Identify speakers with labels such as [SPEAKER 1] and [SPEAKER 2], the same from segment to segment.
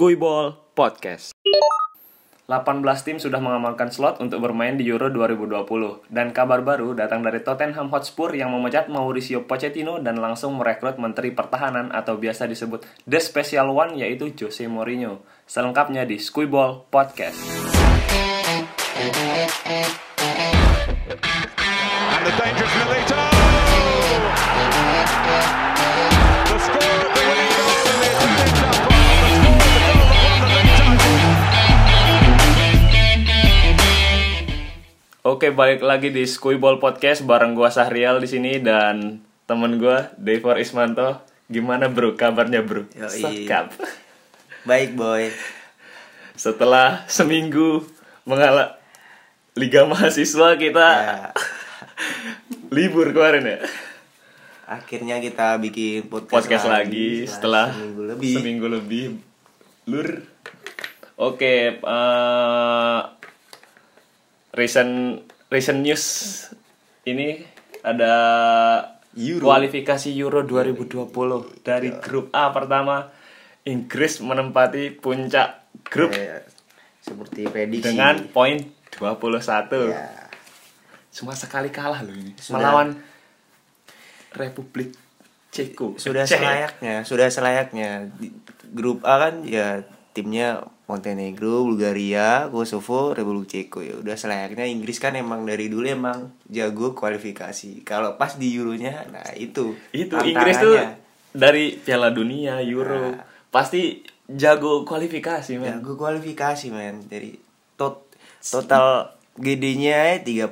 [SPEAKER 1] Skuyball Podcast.
[SPEAKER 2] 18 tim sudah mengamankan slot untuk bermain di Euro 2020. Dan kabar baru datang dari Tottenham Hotspur yang memecat Mauricio Pochettino dan langsung merekrut Menteri Pertahanan atau biasa disebut The Special One yaitu Jose Mourinho. Selengkapnya di Skuyball Podcast.
[SPEAKER 3] And the dangerous Milito! The score of the winning goal from the Italian Champion. The score of the goal that won the league title.
[SPEAKER 2] Oke, balik lagi di Skuyball Podcast bareng gua Sahrial di sini dan temen gua Devor Ismanto. Gimana bro kabarnya bro?
[SPEAKER 1] Yoi.
[SPEAKER 2] Sekap.
[SPEAKER 1] Baik boy.
[SPEAKER 2] Setelah seminggu mengalah Liga Mahasiswa kita
[SPEAKER 1] Ya,
[SPEAKER 2] libur kemarin ya.
[SPEAKER 1] akhirnya kita bikin podcast,
[SPEAKER 2] Podcast lagi setelah
[SPEAKER 1] seminggu lebih.
[SPEAKER 2] seminggu lebih. Lur. Oke, eh, recent recent news ini ada
[SPEAKER 1] Euro. Iya.
[SPEAKER 2] kualifikasi Euro 2020 dari grup A pertama Inggris menempati puncak grup
[SPEAKER 1] Ya, seperti prediksi.
[SPEAKER 2] dengan poin 21.
[SPEAKER 1] Ya,
[SPEAKER 2] Cuma sekali kalah loh ini
[SPEAKER 1] Sudah.
[SPEAKER 2] melawan Republik Ceko.
[SPEAKER 4] sudah
[SPEAKER 2] Cek.
[SPEAKER 4] selayaknya sudah selayaknya Di- grup A kan ya timnya Montenegro, Bulgaria, Kosovo, Republik Ceko ya udah selayaknya Inggris kan emang dari dulu emang jago kualifikasi kalau pas di Euronya nah itu
[SPEAKER 2] Itu
[SPEAKER 4] tantangannya.
[SPEAKER 2] Inggris tuh dari Piala Dunia, Euro,
[SPEAKER 4] Nah.
[SPEAKER 2] pasti jago kualifikasi, men.
[SPEAKER 4] jago Ya, kualifikasi men dari tot total GD-nya 31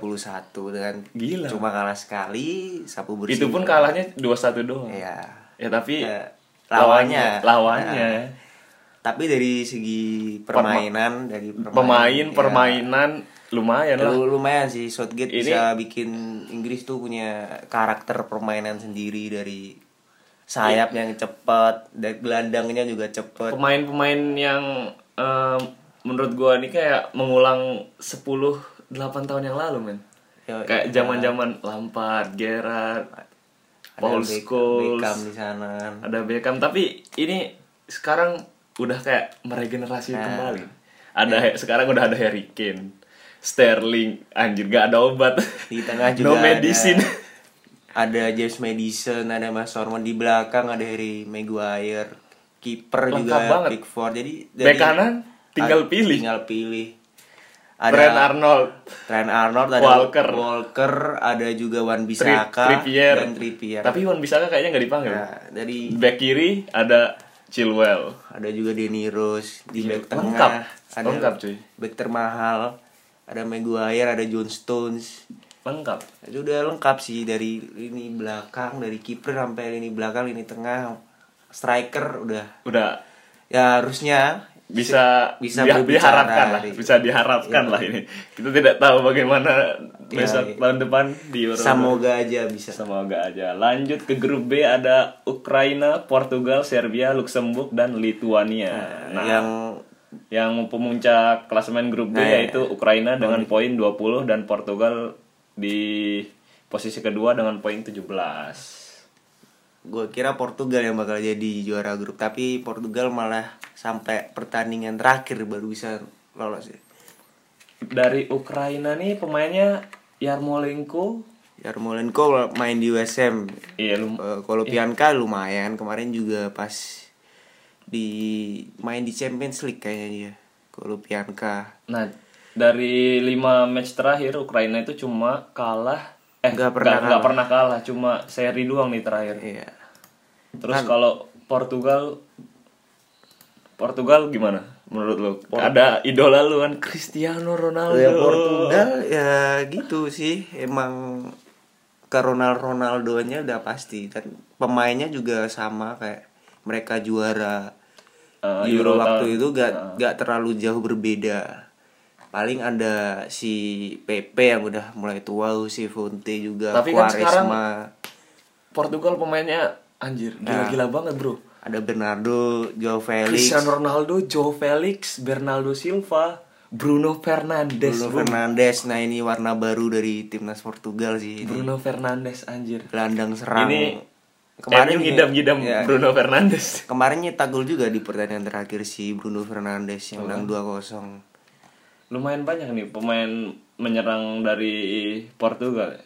[SPEAKER 4] dengan
[SPEAKER 2] Gila.
[SPEAKER 4] cuma kalah sekali sapu bersih
[SPEAKER 2] Itu pun kalahnya 2-1 doang.
[SPEAKER 4] ya
[SPEAKER 2] Ya tapi
[SPEAKER 4] Ya, lawannya.
[SPEAKER 2] lawannya. ya.
[SPEAKER 4] Nah. tapi dari segi
[SPEAKER 2] Perma-
[SPEAKER 4] permainan dari permainan,
[SPEAKER 2] Pemain
[SPEAKER 4] ya,
[SPEAKER 2] permainan lumayan lah.
[SPEAKER 4] lu- lumayan sih Southgate
[SPEAKER 2] Ini-
[SPEAKER 4] bisa bikin Inggris tuh punya karakter permainan sendiri dari sayap yang
[SPEAKER 2] Iya.
[SPEAKER 4] cepat dan gelandangnya juga cepat
[SPEAKER 2] Pemain-pemain yang em, menurut gua nih kayak mengulang 10 8 tahun yang lalu, men.
[SPEAKER 4] Ya,
[SPEAKER 2] Kayak
[SPEAKER 4] ya.
[SPEAKER 2] zaman-zaman Lampard, Gerrard,
[SPEAKER 4] Ada
[SPEAKER 2] Paul
[SPEAKER 4] Beck-
[SPEAKER 2] Scholes,
[SPEAKER 4] Beckham di sana kan.
[SPEAKER 2] ada Beckham tapi ini sekarang udah kayak meregenerasi
[SPEAKER 4] Nah.
[SPEAKER 2] kembali ada sekarang udah ada Harry Kane Sterling anjir gak ada obat
[SPEAKER 4] di tengah juga
[SPEAKER 2] no medicine
[SPEAKER 4] ada, ada James Madison ada Mas Ormond di belakang ada Harry Maguire kiper
[SPEAKER 2] Lengkap
[SPEAKER 4] juga
[SPEAKER 2] banget.
[SPEAKER 4] Pickford jadi
[SPEAKER 2] Bek kanan, tinggal
[SPEAKER 4] ad-
[SPEAKER 2] pilih.
[SPEAKER 4] tinggal pilih
[SPEAKER 2] Trent Arnold
[SPEAKER 4] Trent Arnold ada
[SPEAKER 2] Walker.
[SPEAKER 4] Walker, ada juga Wan
[SPEAKER 2] Tri
[SPEAKER 4] Bisaka
[SPEAKER 2] Trippier.
[SPEAKER 4] dan Trippier
[SPEAKER 2] tapi Wan Bisaka kayaknya nggak dipanggil
[SPEAKER 4] Nah, dari
[SPEAKER 2] back kiri ada Chilwell
[SPEAKER 4] ada juga Denny Rose di
[SPEAKER 2] Gila,
[SPEAKER 4] back tengah
[SPEAKER 2] Iya, lengkap.
[SPEAKER 4] ada
[SPEAKER 2] Lengkap, cuy.
[SPEAKER 4] back termahal ada Maguire ada John Stones
[SPEAKER 2] lengkap
[SPEAKER 4] itu udah lengkap sih dari lini belakang dari kiper sampai lini belakang lini tengah striker udah
[SPEAKER 2] udah
[SPEAKER 4] ya harusnya
[SPEAKER 2] bisa
[SPEAKER 4] Bisa
[SPEAKER 2] dia-
[SPEAKER 4] berbicara
[SPEAKER 2] diharapkan lah
[SPEAKER 4] dari-
[SPEAKER 2] bisa diharapkan lah ini kita tidak tahu bagaimana besok
[SPEAKER 4] iya.
[SPEAKER 2] tahun depan di Euro
[SPEAKER 4] semoga aja bisa
[SPEAKER 2] Semoga aja. Lanjut ke grup B ada Ukraina, Portugal, Serbia, Luxembourg dan
[SPEAKER 4] Iya.
[SPEAKER 2] Lituania. Nah, yang
[SPEAKER 4] yang
[SPEAKER 2] yang pemuncak klasemen grup B
[SPEAKER 4] Nah, iya.
[SPEAKER 2] yaitu Ukraina dengan poin 20 dan Portugal di posisi kedua dengan poin 17.
[SPEAKER 4] gue kira Portugal yang bakal jadi juara grup tapi Portugal malah sampai pertandingan terakhir baru bisa lolos ya
[SPEAKER 2] Dari Ukraina nih pemainnya Yarmolenko.
[SPEAKER 4] Yarmolenko main di USM
[SPEAKER 2] Iya, lu-
[SPEAKER 4] Eh, kalau Pianka lumayan kemarin juga pas di main di Champions League kayaknya dia kalau Pianka
[SPEAKER 2] Nah, dari 5 match terakhir Ukraina itu cuma kalah eh
[SPEAKER 4] Nggak pernah
[SPEAKER 2] nggak- nggak
[SPEAKER 4] kalah.
[SPEAKER 2] pernah kalah, cuma seri doang nih terakhir.
[SPEAKER 4] iya Nah.
[SPEAKER 2] Terus kalau Portugal Portugal gimana menurut lo? Ada idola lu kan Cristiano Ronaldo.
[SPEAKER 4] Ya, Portugal ya gitu sih emang ke Ronaldo Ronaldonya udah pasti dan pemainnya juga sama kayak mereka juara
[SPEAKER 2] Eh, Ah.
[SPEAKER 4] Euro
[SPEAKER 2] Euro
[SPEAKER 4] waktu
[SPEAKER 2] tahun-
[SPEAKER 4] itu gak gak terlalu jauh berbeda paling ada si Pepe yang udah mulai tua si Fonte juga
[SPEAKER 2] Tapi kan
[SPEAKER 4] Quaresma
[SPEAKER 2] sekarang- Portugal pemainnya anjir
[SPEAKER 4] Nah.
[SPEAKER 2] gila-gila banget bro.
[SPEAKER 4] ada Bernardo Joao Felix
[SPEAKER 2] Cristiano Ronaldo, Joe Felix, Bernardo Silva, Bruno Fernandes.
[SPEAKER 4] Bruno
[SPEAKER 2] bro.
[SPEAKER 4] Fernandes nah ini warna baru dari timnas Portugal sih ini
[SPEAKER 2] Bruno Fernandes anjir.
[SPEAKER 4] gelandang serang
[SPEAKER 2] Ini Kemarin ngidam-ngidam
[SPEAKER 4] ya,
[SPEAKER 2] Bruno Fernandes.
[SPEAKER 4] kemarin nyetak gol juga di pertandingan terakhir si Bruno Fernandes yang menang 2-0.
[SPEAKER 2] Lumayan banyak nih pemain menyerang dari Portugal.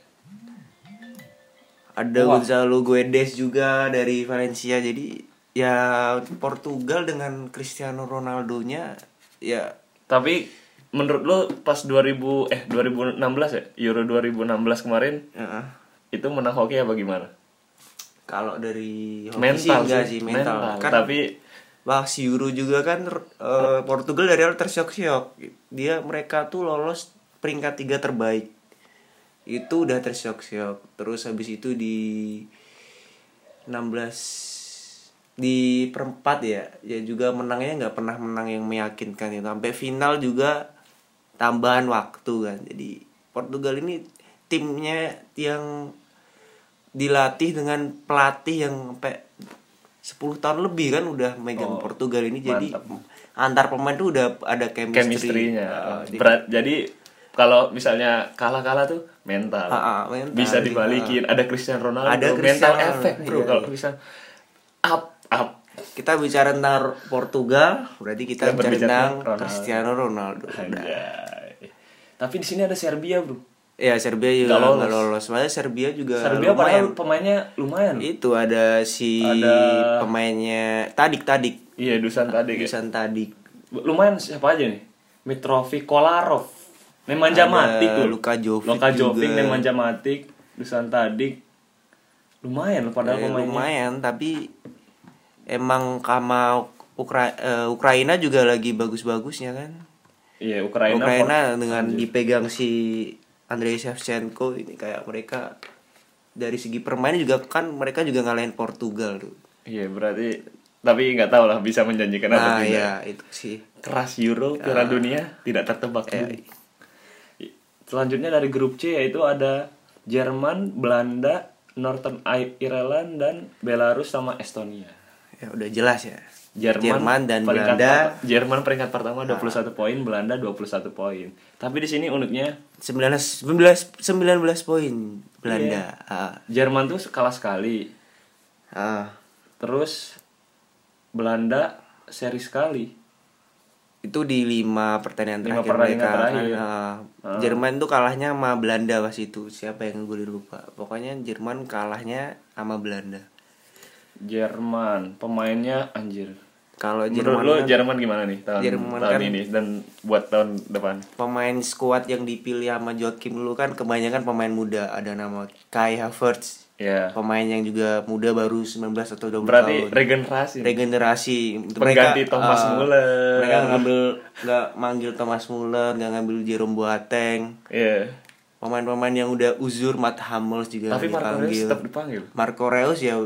[SPEAKER 4] Ada Gonzalo Guedes juga dari Valencia. Jadi ya Portugal dengan Cristiano Ronaldo-nya ya
[SPEAKER 2] Tapi menurut lo pas 2000 eh 2016 ya Euro 2016 kemarin
[SPEAKER 4] eh,
[SPEAKER 2] itu menang hoki apa gimana?
[SPEAKER 4] kalau dari hoki sih
[SPEAKER 2] Mental
[SPEAKER 4] enggak sih mental. Kan
[SPEAKER 2] Tapi
[SPEAKER 4] Wah, si Euro juga kan eh, Portugal dari awal tersiok-siok. Dia mereka tuh lolos peringkat tiga terbaik. Itu udah tersiok-siok. Terus habis itu di 16 di perempat ya, ya juga menangnya nggak pernah menang yang meyakinkan itu. Sampai final juga tambahan waktu kan. Jadi Portugal ini timnya yang dilatih dengan pelatih yang sampai 10 tahun lebih kan udah
[SPEAKER 2] Oh,
[SPEAKER 4] megang Portugal ini jadi antar pemain tuh udah ada chemistry.
[SPEAKER 2] chemistry-nya.
[SPEAKER 4] Ah, jadi-
[SPEAKER 2] Berat. Jadi kalau misalnya kalah-kalah tuh mental.
[SPEAKER 4] Ah, ah, mental.
[SPEAKER 2] Bisa
[SPEAKER 4] Jadi,
[SPEAKER 2] dibalikin. Ada Cristiano Ronaldo.
[SPEAKER 4] Ada
[SPEAKER 2] mental
[SPEAKER 4] Cristiano Ronaldo,
[SPEAKER 2] efek, Bro.
[SPEAKER 4] iya,
[SPEAKER 2] Kalau
[SPEAKER 4] iya.
[SPEAKER 2] bisa up up.
[SPEAKER 4] Kita bicara tentang Portugal, berarti kita
[SPEAKER 2] Kita
[SPEAKER 4] bicara
[SPEAKER 2] berbicara
[SPEAKER 4] tentang
[SPEAKER 2] Ronaldo.
[SPEAKER 4] Cristiano Ronaldo. Nah, Udah.
[SPEAKER 2] Anjay. Tapi di sini ada Serbia, Bro.
[SPEAKER 4] Ya Serbia
[SPEAKER 2] Nggak
[SPEAKER 4] juga
[SPEAKER 2] lolos.
[SPEAKER 4] nggak lolos. Padahal Serbia juga
[SPEAKER 2] Serbia
[SPEAKER 4] Ya, lumayan.
[SPEAKER 2] padahal pemainnya lumayan.
[SPEAKER 4] Itu ada si
[SPEAKER 2] Ada-
[SPEAKER 4] pemainnya Tadik Tadik.
[SPEAKER 2] Iya, Dusan tadi kayak-
[SPEAKER 4] Ah, Dusan Tadik.
[SPEAKER 2] Lumayan siapa aja nih? Mitrovic Kolarov. Nemanja
[SPEAKER 4] Ada
[SPEAKER 2] Matic tuh.
[SPEAKER 4] Luka Jovic
[SPEAKER 2] Luka Jovic,
[SPEAKER 4] juga.
[SPEAKER 2] Nemanja Matic, Dusan Tadic. Lumayan loh padahal
[SPEAKER 4] Eh,
[SPEAKER 2] pemainnya.
[SPEAKER 4] lumayan tapi emang sama Ukra- eh, Ukraina juga lagi bagus-bagusnya kan.
[SPEAKER 2] Iya,
[SPEAKER 4] Ukraina,
[SPEAKER 2] Ukraina.
[SPEAKER 4] dengan dipegang si Andrei Shevchenko ini kayak mereka dari segi permainan juga kan mereka juga ngalahin Portugal tuh.
[SPEAKER 2] Iya, berarti tapi nggak tahu lah bisa menjanjikan apa
[SPEAKER 4] Nah,
[SPEAKER 2] tidak.
[SPEAKER 4] ya itu sih.
[SPEAKER 2] Keras Euro Piala
[SPEAKER 4] Ah.
[SPEAKER 2] Dunia tidak tertebak.
[SPEAKER 4] Iya.
[SPEAKER 2] dulu. Selanjutnya dari grup C yaitu ada Jerman, Belanda, Northern I- Ireland dan Belarus sama Estonia.
[SPEAKER 4] Ya udah jelas ya.
[SPEAKER 2] Jerman,
[SPEAKER 4] dan
[SPEAKER 2] peringkat
[SPEAKER 4] Belanda Ah.
[SPEAKER 2] perta- Jerman peringkat pertama 21 poin, Belanda 21 poin. Tapi di sini uniknya
[SPEAKER 4] 19 19 19 poin Belanda.
[SPEAKER 2] Iya.
[SPEAKER 4] Ah.
[SPEAKER 2] Jerman tuh kalah sekali.
[SPEAKER 4] Ah.
[SPEAKER 2] Terus Belanda seri sekali.
[SPEAKER 4] Itu di lima pertandingan
[SPEAKER 2] Lima
[SPEAKER 4] terakhir
[SPEAKER 2] pertandingan
[SPEAKER 4] mereka. kan.
[SPEAKER 2] terakhir.
[SPEAKER 4] Ah. Jerman tuh kalahnya sama Belanda pas itu. Siapa yang gue lupa. Pokoknya Jerman kalahnya sama Belanda.
[SPEAKER 2] Jerman pemainnya anjir.
[SPEAKER 4] Kalau
[SPEAKER 2] Menurut
[SPEAKER 4] Jerman
[SPEAKER 2] lo
[SPEAKER 4] kan-
[SPEAKER 2] Jerman gimana nih tahun
[SPEAKER 4] Jerman
[SPEAKER 2] tahun
[SPEAKER 4] kan-
[SPEAKER 2] ini dan buat tahun depan?
[SPEAKER 4] pemain skuad yang dipilih sama Joachim dulu kan kebanyakan pemain muda ada nama Kai Havertz
[SPEAKER 2] Ya.
[SPEAKER 4] pemain yang juga muda baru 19 atau 20
[SPEAKER 2] Berarti
[SPEAKER 4] tahun
[SPEAKER 2] regenerasi.
[SPEAKER 4] regenerasi Untuk
[SPEAKER 2] Pengganti Thomas
[SPEAKER 4] eh,
[SPEAKER 2] Muller.
[SPEAKER 4] mereka ngambil nggak manggil Thomas Muller nggak ngambil Jerome Boateng
[SPEAKER 2] Iya.
[SPEAKER 4] pemain-pemain yang udah uzur Matt Hummels juga
[SPEAKER 2] Tapi Marco Reus
[SPEAKER 4] dipanggil.
[SPEAKER 2] tetap dipanggil.
[SPEAKER 4] Marco Reus ya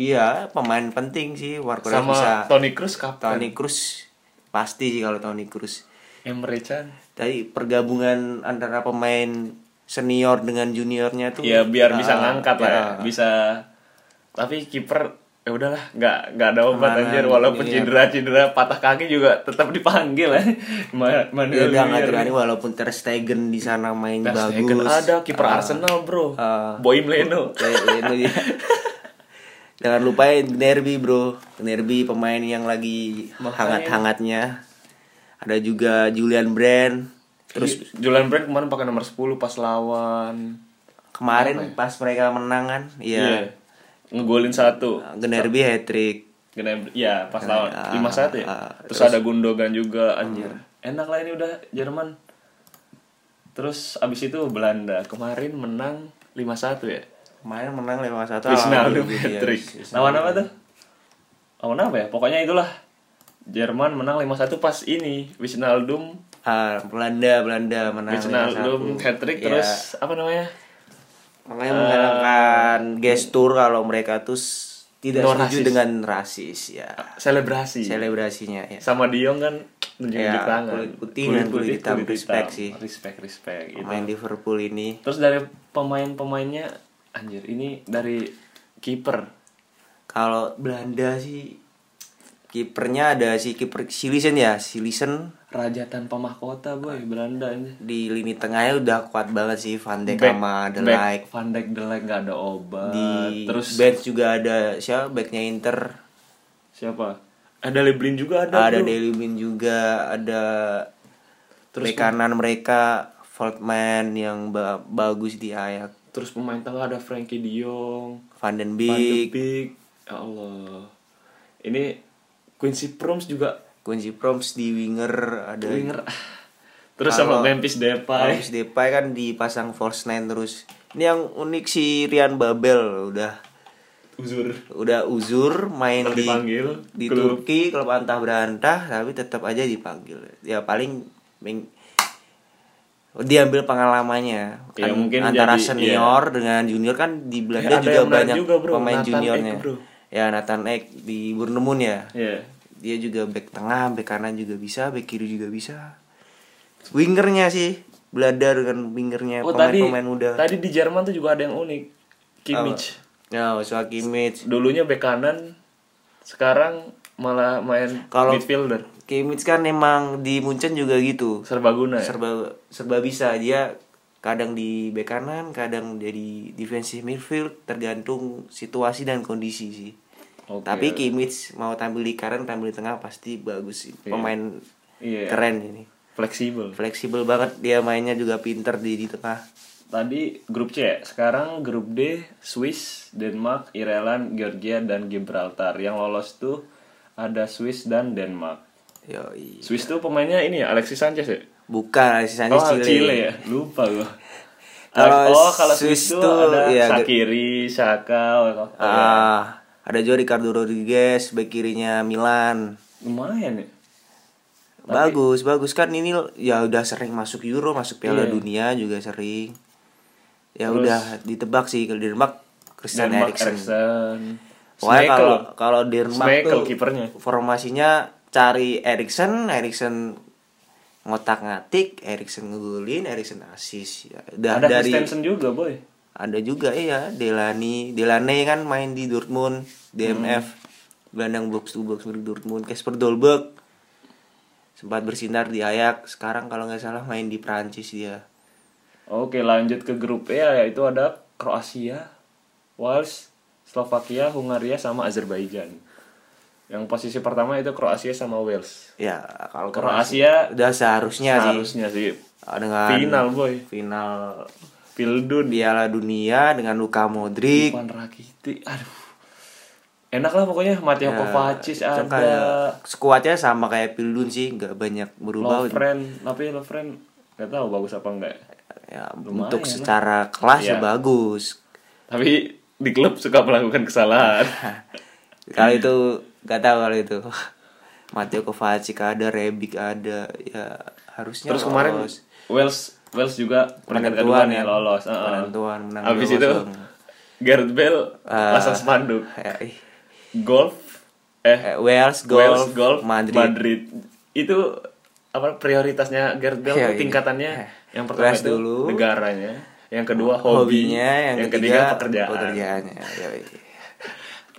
[SPEAKER 4] iya pemain penting sih Marco Reus
[SPEAKER 2] Sama
[SPEAKER 4] bisa
[SPEAKER 2] Toni Kroos kapten.
[SPEAKER 4] Toni Kroos pasti sih kalau Toni Kroos
[SPEAKER 2] Emre Can.
[SPEAKER 4] tadi pergabungan antara pemain senior dengan juniornya tuh
[SPEAKER 2] Ya biar bisa
[SPEAKER 4] Ah,
[SPEAKER 2] ngangkat lah, ya.
[SPEAKER 4] ya.
[SPEAKER 2] bisa. Tapi kiper ya udahlah, nggak nggak ada obat
[SPEAKER 4] Kemarin,
[SPEAKER 2] anjir walaupun
[SPEAKER 4] iya.
[SPEAKER 2] cedera-cedera patah kaki juga tetap dipanggil ya. Ma-
[SPEAKER 4] Ya
[SPEAKER 2] Manuel
[SPEAKER 4] udah nggak
[SPEAKER 2] Neuer.
[SPEAKER 4] terani walaupun Ter Stegen di sana main
[SPEAKER 2] Ter
[SPEAKER 4] bagus
[SPEAKER 2] Stegen ada kiper Arsenal, Bro.
[SPEAKER 4] Ah.
[SPEAKER 2] Boim Leno.
[SPEAKER 4] Ya, ya, itu dia. jangan lupain Nerbi bro Nerbi pemain yang lagi hangat-hangatnya ada juga Julian Brand terus
[SPEAKER 2] Terus Julian Brand kemarin pakai nomor 10 pas lawan ya?
[SPEAKER 4] kemarin pas mereka menang kan
[SPEAKER 2] Iya.
[SPEAKER 4] ya
[SPEAKER 2] Ngegolin satu.
[SPEAKER 4] Gnabry hat trick
[SPEAKER 2] Gnabry- ya pas lawan
[SPEAKER 4] ah,
[SPEAKER 2] 5-1 ya.
[SPEAKER 4] ah,
[SPEAKER 2] terus, ada Gundogan juga anjir. Enak lah ini udah Jerman. Terus abis itu Belanda kemarin menang 5-1 ya.
[SPEAKER 4] kemarin menang
[SPEAKER 2] Wijnaldum
[SPEAKER 4] 5-1 Alhamdulillah, ya.
[SPEAKER 2] hat-trick. Lawan apa tuh? Lawan apa ya? Pokoknya itulah. Jerman menang 5-1 pas ini Wijnaldum
[SPEAKER 4] Ah, Belanda Belanda menang
[SPEAKER 2] Wijnaldum
[SPEAKER 4] 5-1.
[SPEAKER 2] hat-trick
[SPEAKER 4] Nah, Iya.
[SPEAKER 2] terus apa namanya?
[SPEAKER 4] makanya menggalakkan
[SPEAKER 2] eh,
[SPEAKER 4] gestur kalau mereka tuh s- tidak
[SPEAKER 2] No
[SPEAKER 4] setuju
[SPEAKER 2] rasis.
[SPEAKER 4] dengan rasis ya
[SPEAKER 2] Selebrasi.
[SPEAKER 4] selebrasinya ya
[SPEAKER 2] Sama Dion kan nunjuk-nunjuk
[SPEAKER 4] Ya,
[SPEAKER 2] tangan.
[SPEAKER 4] kulit putih dan kulit hitam. Respect sih.
[SPEAKER 2] Respect, respect. Itu.
[SPEAKER 4] pemain Liverpool ini
[SPEAKER 2] Terus dari pemain-pemainnya anjir ini dari kiper
[SPEAKER 4] kalau Belanda sih kipernya ada si kiper Silisen ya Silisen
[SPEAKER 2] Raja tanpa mahkota boy Belanda aja.
[SPEAKER 4] di lini tengahnya udah kuat banget sih Van Dijk
[SPEAKER 2] Back-
[SPEAKER 4] sama De
[SPEAKER 2] back
[SPEAKER 4] Ligt.
[SPEAKER 2] Van Dijk De Ligt nggak ada obat.
[SPEAKER 4] di
[SPEAKER 2] Terus
[SPEAKER 4] back juga ada siapa backnya Inter
[SPEAKER 2] siapa? Ada Leblin juga ada.
[SPEAKER 4] ada
[SPEAKER 2] bro.
[SPEAKER 4] Daily Blind juga ada
[SPEAKER 2] Terus
[SPEAKER 4] back kanan mereka Voltman yang ba- bagus di Ajax
[SPEAKER 2] Terus pemain tengah ada Frankie De Jong,
[SPEAKER 4] Van den
[SPEAKER 2] Van de
[SPEAKER 4] Beek
[SPEAKER 2] Beek. Ya Allah. Ini Quincy Promes juga
[SPEAKER 4] Quincy Promes di winger ada
[SPEAKER 2] winger. Terus
[SPEAKER 4] Kalau-
[SPEAKER 2] sama Memphis Depay.
[SPEAKER 4] Habis Depay kan dipasang false nine terus ini yang unik si Rian Babel udah
[SPEAKER 2] Uzur.
[SPEAKER 4] udah uzur main
[SPEAKER 2] Tetap
[SPEAKER 4] di
[SPEAKER 2] dipanggil,
[SPEAKER 4] di
[SPEAKER 2] klub.
[SPEAKER 4] Turki klub antah berantah tapi tetap aja dipanggil ya paling meng- diambil pengalamannya
[SPEAKER 2] Ya,
[SPEAKER 4] Kan
[SPEAKER 2] mungkin
[SPEAKER 4] antara
[SPEAKER 2] jadi-
[SPEAKER 4] senior dengan junior kan di
[SPEAKER 2] Eh,
[SPEAKER 4] Belanda
[SPEAKER 2] ada
[SPEAKER 4] juga
[SPEAKER 2] yang menarik
[SPEAKER 4] banyak
[SPEAKER 2] juga, bro.
[SPEAKER 4] pemain
[SPEAKER 2] Nathan
[SPEAKER 4] juniornya
[SPEAKER 2] Ek, bro.
[SPEAKER 4] ya Nathan Ek di Burnemun ya
[SPEAKER 2] Iya.
[SPEAKER 4] dia juga back tengah back kanan juga bisa back kiri juga bisa wingernya sih Belanda dengan wingernya
[SPEAKER 2] Oh
[SPEAKER 4] pemain
[SPEAKER 2] tadi
[SPEAKER 4] pemain muda
[SPEAKER 2] tadi di Jerman tuh juga ada yang unik. Kimmich.
[SPEAKER 4] ya soal Kimmich
[SPEAKER 2] Dulunya bek kanan, sekarang malah main
[SPEAKER 4] Kalau-
[SPEAKER 2] midfielder.
[SPEAKER 4] Kimmich kan emang di Munchen juga gitu
[SPEAKER 2] Serbaguna. ya?
[SPEAKER 4] serba serba bisa dia kadang di bek kanan kadang jadi defensive midfield tergantung situasi dan kondisi sih
[SPEAKER 2] Oke. ya.
[SPEAKER 4] tapi Kimmich mau tampil di kanan tampil di tengah pasti bagus sih
[SPEAKER 2] Iya.
[SPEAKER 4] pemain
[SPEAKER 2] Iya.
[SPEAKER 4] keren ini
[SPEAKER 2] Fleksibel.
[SPEAKER 4] fleksibel banget dia mainnya juga pinter di di tengah
[SPEAKER 2] Tadi grup C, ya? sekarang grup D, Swiss, Denmark, Ireland, Georgia, dan Gibraltar. Yang lolos tuh ada Swiss dan Denmark.
[SPEAKER 4] Yoi.
[SPEAKER 2] Swiss tuh pemainnya ini ya, Alexis Sanchez ya?
[SPEAKER 4] bukan sisanya
[SPEAKER 2] Oh, Chile.
[SPEAKER 4] Chile.
[SPEAKER 2] ya? Lupa gua.
[SPEAKER 4] Kalau
[SPEAKER 2] oh, kalau Swiss, tuh
[SPEAKER 4] Swiss tuh,
[SPEAKER 2] ada
[SPEAKER 4] ya,
[SPEAKER 2] Sakiri, Saka, oh,
[SPEAKER 4] Ah, ada juga Ricardo Rodriguez bek kirinya Milan
[SPEAKER 2] lumayan ya.
[SPEAKER 4] bagus bagus kan ini ya udah sering masuk Euro masuk Piala
[SPEAKER 2] Iya.
[SPEAKER 4] Dunia juga sering ya
[SPEAKER 2] Terus-
[SPEAKER 4] udah ditebak sih kalau Denmark Christian
[SPEAKER 2] Denmark,
[SPEAKER 4] Eriksen
[SPEAKER 2] Eriksen.
[SPEAKER 4] pokoknya
[SPEAKER 2] Schmeichel.
[SPEAKER 4] kalau kalau Denmark
[SPEAKER 2] Schmeichel
[SPEAKER 4] tuh
[SPEAKER 2] kipernya.
[SPEAKER 4] formasinya cari Eriksen Eriksen ngotak ngatik Eriksen ngegulin Eriksen asis ya, udah
[SPEAKER 2] Ada
[SPEAKER 4] dari
[SPEAKER 2] Christensen juga, boy.
[SPEAKER 4] ada juga iya Delani Delane kan main di Dortmund DMF gelandang box to box milik Dortmund Casper Dolberg sempat bersinar di Ajax sekarang kalau nggak salah main di Prancis dia
[SPEAKER 2] Oke, lanjut ke grup E yaitu ada Kroasia, Wales, Slovakia, Hungaria sama Azerbaijan. Yang posisi pertama itu Kroasia sama Wales.
[SPEAKER 4] ya kalau
[SPEAKER 2] Kroasia
[SPEAKER 4] udah seharusnya Iya sih Ah,
[SPEAKER 2] harusnya sih
[SPEAKER 4] dengan
[SPEAKER 2] final, boy.
[SPEAKER 4] final
[SPEAKER 2] Pildun
[SPEAKER 4] Piala Dunia dengan Luka Modric
[SPEAKER 2] Ivan Rakitic. Aduh. Enak lah pokoknya Mateo Kovacic
[SPEAKER 4] Ya,
[SPEAKER 2] ada.
[SPEAKER 4] Itu kayak- skuadnya sama kayak Pildun sih nggak banyak berubah
[SPEAKER 2] Lovren, tapi Lovren nggak tahu bagus apa enggak.
[SPEAKER 4] ya
[SPEAKER 2] Lumayan
[SPEAKER 4] untuk
[SPEAKER 2] lah.
[SPEAKER 4] secara kelas
[SPEAKER 2] Iya.
[SPEAKER 4] ya bagus
[SPEAKER 2] Tapi di klub suka melakukan kesalahan.
[SPEAKER 4] kalau itu nggak tahu kalau itu Mateo Kovacic ada Rebic ada ya harusnya
[SPEAKER 2] Terus kemarin
[SPEAKER 4] lolos.
[SPEAKER 2] Wales Wales juga peringkat kedua
[SPEAKER 4] Penentuan
[SPEAKER 2] nih
[SPEAKER 4] ya.
[SPEAKER 2] lolos. Heeh.
[SPEAKER 4] Penentuan, menang Eh,
[SPEAKER 2] Abis
[SPEAKER 4] 2-0.
[SPEAKER 2] itu Gareth Bale pasang spanduk.
[SPEAKER 4] Ya, ih.
[SPEAKER 2] Golf eh
[SPEAKER 4] Eh, Wales golf,
[SPEAKER 2] Wales golf Madrid.
[SPEAKER 4] Madrid.
[SPEAKER 2] Itu apa prioritasnya Gareth Bale
[SPEAKER 4] Ya,
[SPEAKER 2] tuh
[SPEAKER 4] iya.
[SPEAKER 2] tingkatannya
[SPEAKER 4] Eh,
[SPEAKER 2] yang pertama
[SPEAKER 4] kelas
[SPEAKER 2] itu
[SPEAKER 4] dulu.
[SPEAKER 2] negaranya, yang kedua hobi,
[SPEAKER 4] hobinya yang,
[SPEAKER 2] ketiga,
[SPEAKER 4] ketiga,
[SPEAKER 2] pekerjaan.
[SPEAKER 4] pekerjaannya ya,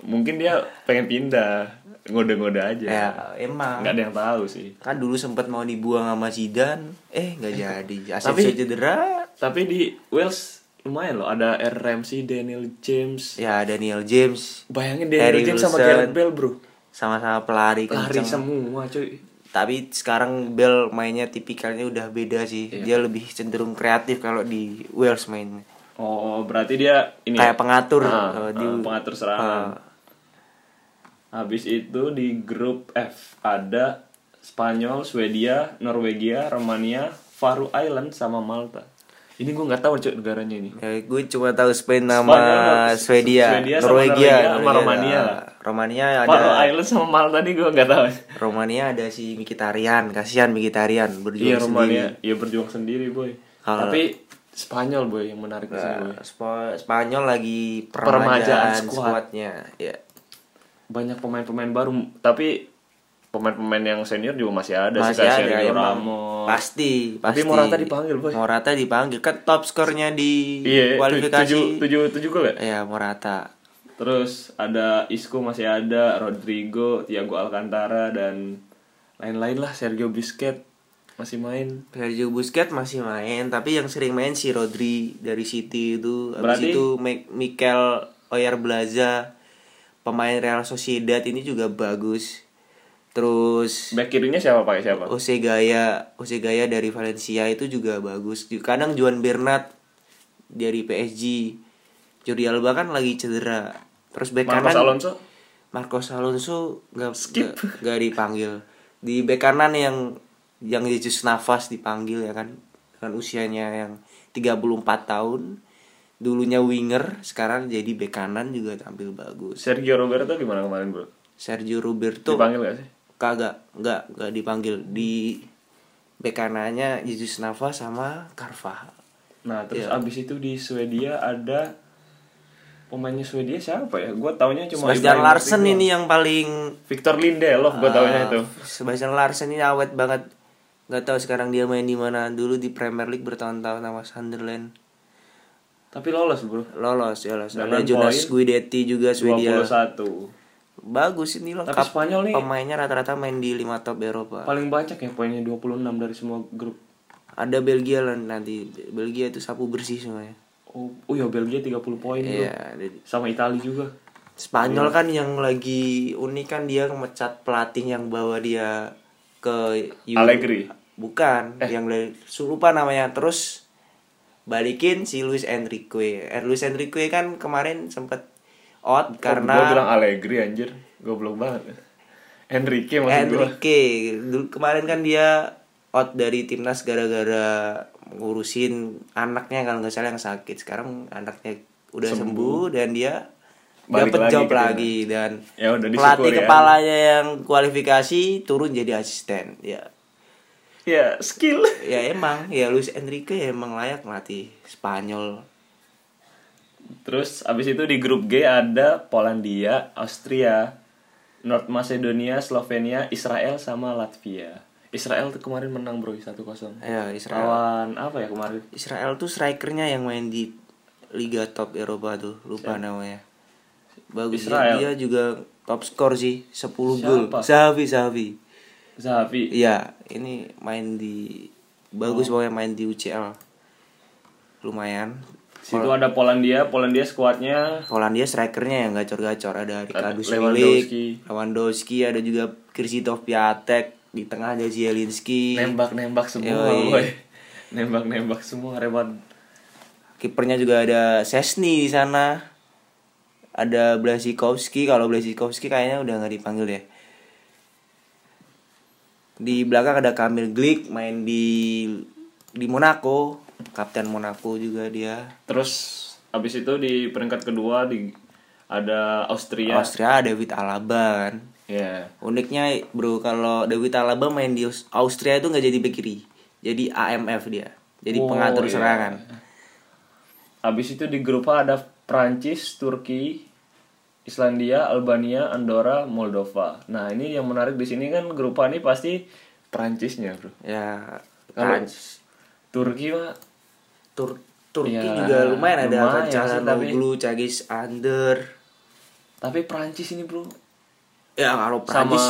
[SPEAKER 2] Mungkin dia pengen pindah, ngode-ngode aja.
[SPEAKER 4] ya, emang
[SPEAKER 2] Nggak ada yang tahu sih.
[SPEAKER 4] kan dulu sempat mau dibuang sama Zidane eh nggak jadi
[SPEAKER 2] Tapi-
[SPEAKER 4] Asensio cedera
[SPEAKER 2] Tapi di Wales lumayan loh ada R. Ramsey, Daniel James,
[SPEAKER 4] ya Daniel James
[SPEAKER 2] Bayangin Daniel
[SPEAKER 4] Harry
[SPEAKER 2] James sama
[SPEAKER 4] Wilson.
[SPEAKER 2] Gareth Bale bro
[SPEAKER 4] sama-sama pelari
[SPEAKER 2] Lari
[SPEAKER 4] kencang
[SPEAKER 2] semua cuy
[SPEAKER 4] tapi sekarang Bell mainnya tipikalnya udah beda sih
[SPEAKER 2] Iya.
[SPEAKER 4] dia lebih cenderung kreatif kalau di Wales mainnya
[SPEAKER 2] Oh berarti dia ini
[SPEAKER 4] kayak pengatur
[SPEAKER 2] Ah,
[SPEAKER 4] eh, di
[SPEAKER 2] ah, pengatur serangan. Habis itu di grup F ada Spanyol, Swedia, Norwegia, Romania, Faroe Island sama Malta. Ini gue nggak tahu cuy negaranya ini.
[SPEAKER 4] Eh, gue cuma tahu Spain nama
[SPEAKER 2] Spanyol,
[SPEAKER 4] Swedia,
[SPEAKER 2] ya, Swedia sama
[SPEAKER 4] Norwegia,
[SPEAKER 2] Norwegia sama
[SPEAKER 4] Norwegia.
[SPEAKER 2] Romania.
[SPEAKER 4] Romania ada
[SPEAKER 2] Faroe Island sama Malta nih gue nggak tahu.
[SPEAKER 4] Romania ada si Mikitarian, kasihan Mikitarian berjuang
[SPEAKER 2] Iya Romania,
[SPEAKER 4] sendiri. Ah.
[SPEAKER 2] iya berjuang sendiri boy.
[SPEAKER 4] Kalau-
[SPEAKER 2] Tapi Spanyol boy yang menarik di sini boy.
[SPEAKER 4] Eh, Spo- Spanyol lagi
[SPEAKER 2] Permajaan
[SPEAKER 4] permajaan
[SPEAKER 2] squad.
[SPEAKER 4] skuadnya. Ya.
[SPEAKER 2] banyak pemain-pemain baru tapi pemain-pemain yang senior juga masih ada sih
[SPEAKER 4] Masih
[SPEAKER 2] kayak
[SPEAKER 4] ada
[SPEAKER 2] Sergio
[SPEAKER 4] emang.
[SPEAKER 2] Ramos
[SPEAKER 4] Pasti,
[SPEAKER 2] Tapi
[SPEAKER 4] pasti.
[SPEAKER 2] Morata dipanggil, Boy.
[SPEAKER 4] Morata dipanggil kan top skornya di
[SPEAKER 2] iya tu-
[SPEAKER 4] kualifikasi.
[SPEAKER 2] tujuh tujuh tujuh gol ya
[SPEAKER 4] Ya Iya, Morata.
[SPEAKER 2] Terus ada Isco masih ada, Rodrigo, Thiago Alcantara dan lain-lain lah Sergio Busquets masih main.
[SPEAKER 4] Sergio Busquets masih main, tapi yang sering main si Rodri dari City itu, habis
[SPEAKER 2] Berarti-
[SPEAKER 4] itu Mi- Mikel Oyarzabal, pemain Real Sociedad ini juga bagus. Terus
[SPEAKER 2] Back kirinya siapa pakai siapa?
[SPEAKER 4] Jose Gaya, Jose Gaya dari Valencia itu juga bagus. Kadang Juan Bernat dari PSG. Jordi Alba kan lagi cedera. Terus bek
[SPEAKER 2] Marcos
[SPEAKER 4] kanan
[SPEAKER 2] Alonso.
[SPEAKER 4] Marcos Alonso nggak nggak- nggak dipanggil. Di bek kanan yang yang Jesus Navas dipanggil ya kan. Dengan usianya yang 34 tahun. Dulunya winger, sekarang jadi bek kanan juga tampil bagus.
[SPEAKER 2] Sergio Roberto gimana kemarin, Bro?
[SPEAKER 4] Sergio Roberto
[SPEAKER 2] Dipanggil gak sih?
[SPEAKER 4] kagak nggak nggak dipanggil di bek kanannya Jesus Navas sama Carvajal
[SPEAKER 2] Nah, terus
[SPEAKER 4] Iya.
[SPEAKER 2] abis itu di Swedia ada pemainnya Swedia siapa ya? Gua taunya cuma
[SPEAKER 4] Sebastian
[SPEAKER 2] Ibrahimovic
[SPEAKER 4] Larsen
[SPEAKER 2] doang.
[SPEAKER 4] ini yang paling
[SPEAKER 2] Victor Lindelof gua taunya
[SPEAKER 4] Ah,
[SPEAKER 2] itu.
[SPEAKER 4] Sebastian Larsen ini awet banget nggak tahu sekarang dia main di mana dulu di Premier League bertahun-tahun sama Sunderland
[SPEAKER 2] Tapi lolos, Bro.
[SPEAKER 4] lolos ya lolos
[SPEAKER 2] Dengan
[SPEAKER 4] ada Jonas
[SPEAKER 2] poin
[SPEAKER 4] Guidetti juga Swedia
[SPEAKER 2] 21.
[SPEAKER 4] bagus ini lengkap
[SPEAKER 2] Tapi Spanyol nih-
[SPEAKER 4] pemainnya rata-rata main di lima top Eropa
[SPEAKER 2] Paling banyak ya poinnya 26 dari semua grup.
[SPEAKER 4] ada Belgia lah nanti Belgia itu sapu bersih semuanya
[SPEAKER 2] Oh, oh ya Belgia 30 poin bro.
[SPEAKER 4] iya ada-
[SPEAKER 2] Sama Italia juga.
[SPEAKER 4] Spanyol kan yang lagi unik kan dia memecat pelatih yang bawa dia ke Euro-
[SPEAKER 2] Allegri.
[SPEAKER 4] Bukan, yang dari lupa namanya. Terus balikin si Luis Enrique. Eh, Luis Enrique kan kemarin sempet out
[SPEAKER 2] Karena gua bilang
[SPEAKER 4] karena
[SPEAKER 2] Allegri anjir. Goblok banget. Enrique maksud gua.
[SPEAKER 4] Enrique Dulu- kemarin kan dia out dari timnas gara-gara ngurusin anaknya kalau nggak salah yang sakit. Sekarang anaknya udah sembuh, dan dia
[SPEAKER 2] Balik
[SPEAKER 4] dapat
[SPEAKER 2] lagi
[SPEAKER 4] job
[SPEAKER 2] ke timnas.
[SPEAKER 4] lagi dan
[SPEAKER 2] Ya udah,
[SPEAKER 4] pelatih
[SPEAKER 2] disyukuri ya.
[SPEAKER 4] kepalanya yang kualifikasi turun jadi asisten. Ya
[SPEAKER 2] Ya, skill.
[SPEAKER 4] ya emang ya Luis Enrique ya emang layak melatih Spanyol
[SPEAKER 2] Terus abis itu di grup G ada Polandia, Austria, North Macedonia, Slovenia, Israel sama Latvia. Israel tuh kemarin menang bro 1-0.
[SPEAKER 4] ya Israel
[SPEAKER 2] Lawan apa ya kemarin?
[SPEAKER 4] Israel tuh strikernya yang main di Liga Top Eropa tuh lupa namanya bagus
[SPEAKER 2] Israel.
[SPEAKER 4] ya. dia juga top skor sih 10 gol
[SPEAKER 2] Siapa?
[SPEAKER 4] Zahavi Zahavi
[SPEAKER 2] Zahavi.
[SPEAKER 4] ya ini main di bagus
[SPEAKER 2] Oh.
[SPEAKER 4] pokoknya main di UCL lumayan
[SPEAKER 2] Situ ada Polandia, Polandia skuadnya
[SPEAKER 4] Polandia strikernya yang gacor-gacor ada Ricardo
[SPEAKER 2] Lewandowski.
[SPEAKER 4] Lewandowski. Lewandowski ada juga Krzysztof Piatek di tengah ada Zielinski
[SPEAKER 2] nembak-nembak semua,
[SPEAKER 4] Yoi.
[SPEAKER 2] boy. Nembak-nembak semua rewan.
[SPEAKER 4] kipernya juga ada Sesni di sana ada Blasikowski kalau Blasikowski kayaknya udah nggak dipanggil ya di belakang ada Kamil Glik main di di Monaco kapten Monaco juga dia
[SPEAKER 2] Terus abis itu di peringkat kedua di ada Austria.
[SPEAKER 4] Austria ada David Alaba kan
[SPEAKER 2] Ya.
[SPEAKER 4] uniknya bro kalau David Alaba main di Aus- Austria itu nggak jadi bek kiri jadi AMF dia jadi
[SPEAKER 2] Oh,
[SPEAKER 4] pengatur
[SPEAKER 2] iya.
[SPEAKER 4] serangan
[SPEAKER 2] Abis itu di grup A ada Prancis, Turki, Islandia, Albania, Andorra, Moldova. Nah, ini yang menarik di sini kan grup A ini pasti Prancisnya, Bro.
[SPEAKER 4] ya
[SPEAKER 2] Kalau-
[SPEAKER 4] Prancis.
[SPEAKER 2] Turki mah
[SPEAKER 4] Tur Turki
[SPEAKER 2] Ya,
[SPEAKER 4] juga lumayan ada
[SPEAKER 2] lumayan sih,
[SPEAKER 4] Calhanoglu, Cagis Under.
[SPEAKER 2] tapi Prancis ini, Bro.
[SPEAKER 4] Ya
[SPEAKER 2] Sama
[SPEAKER 4] kalau Prancis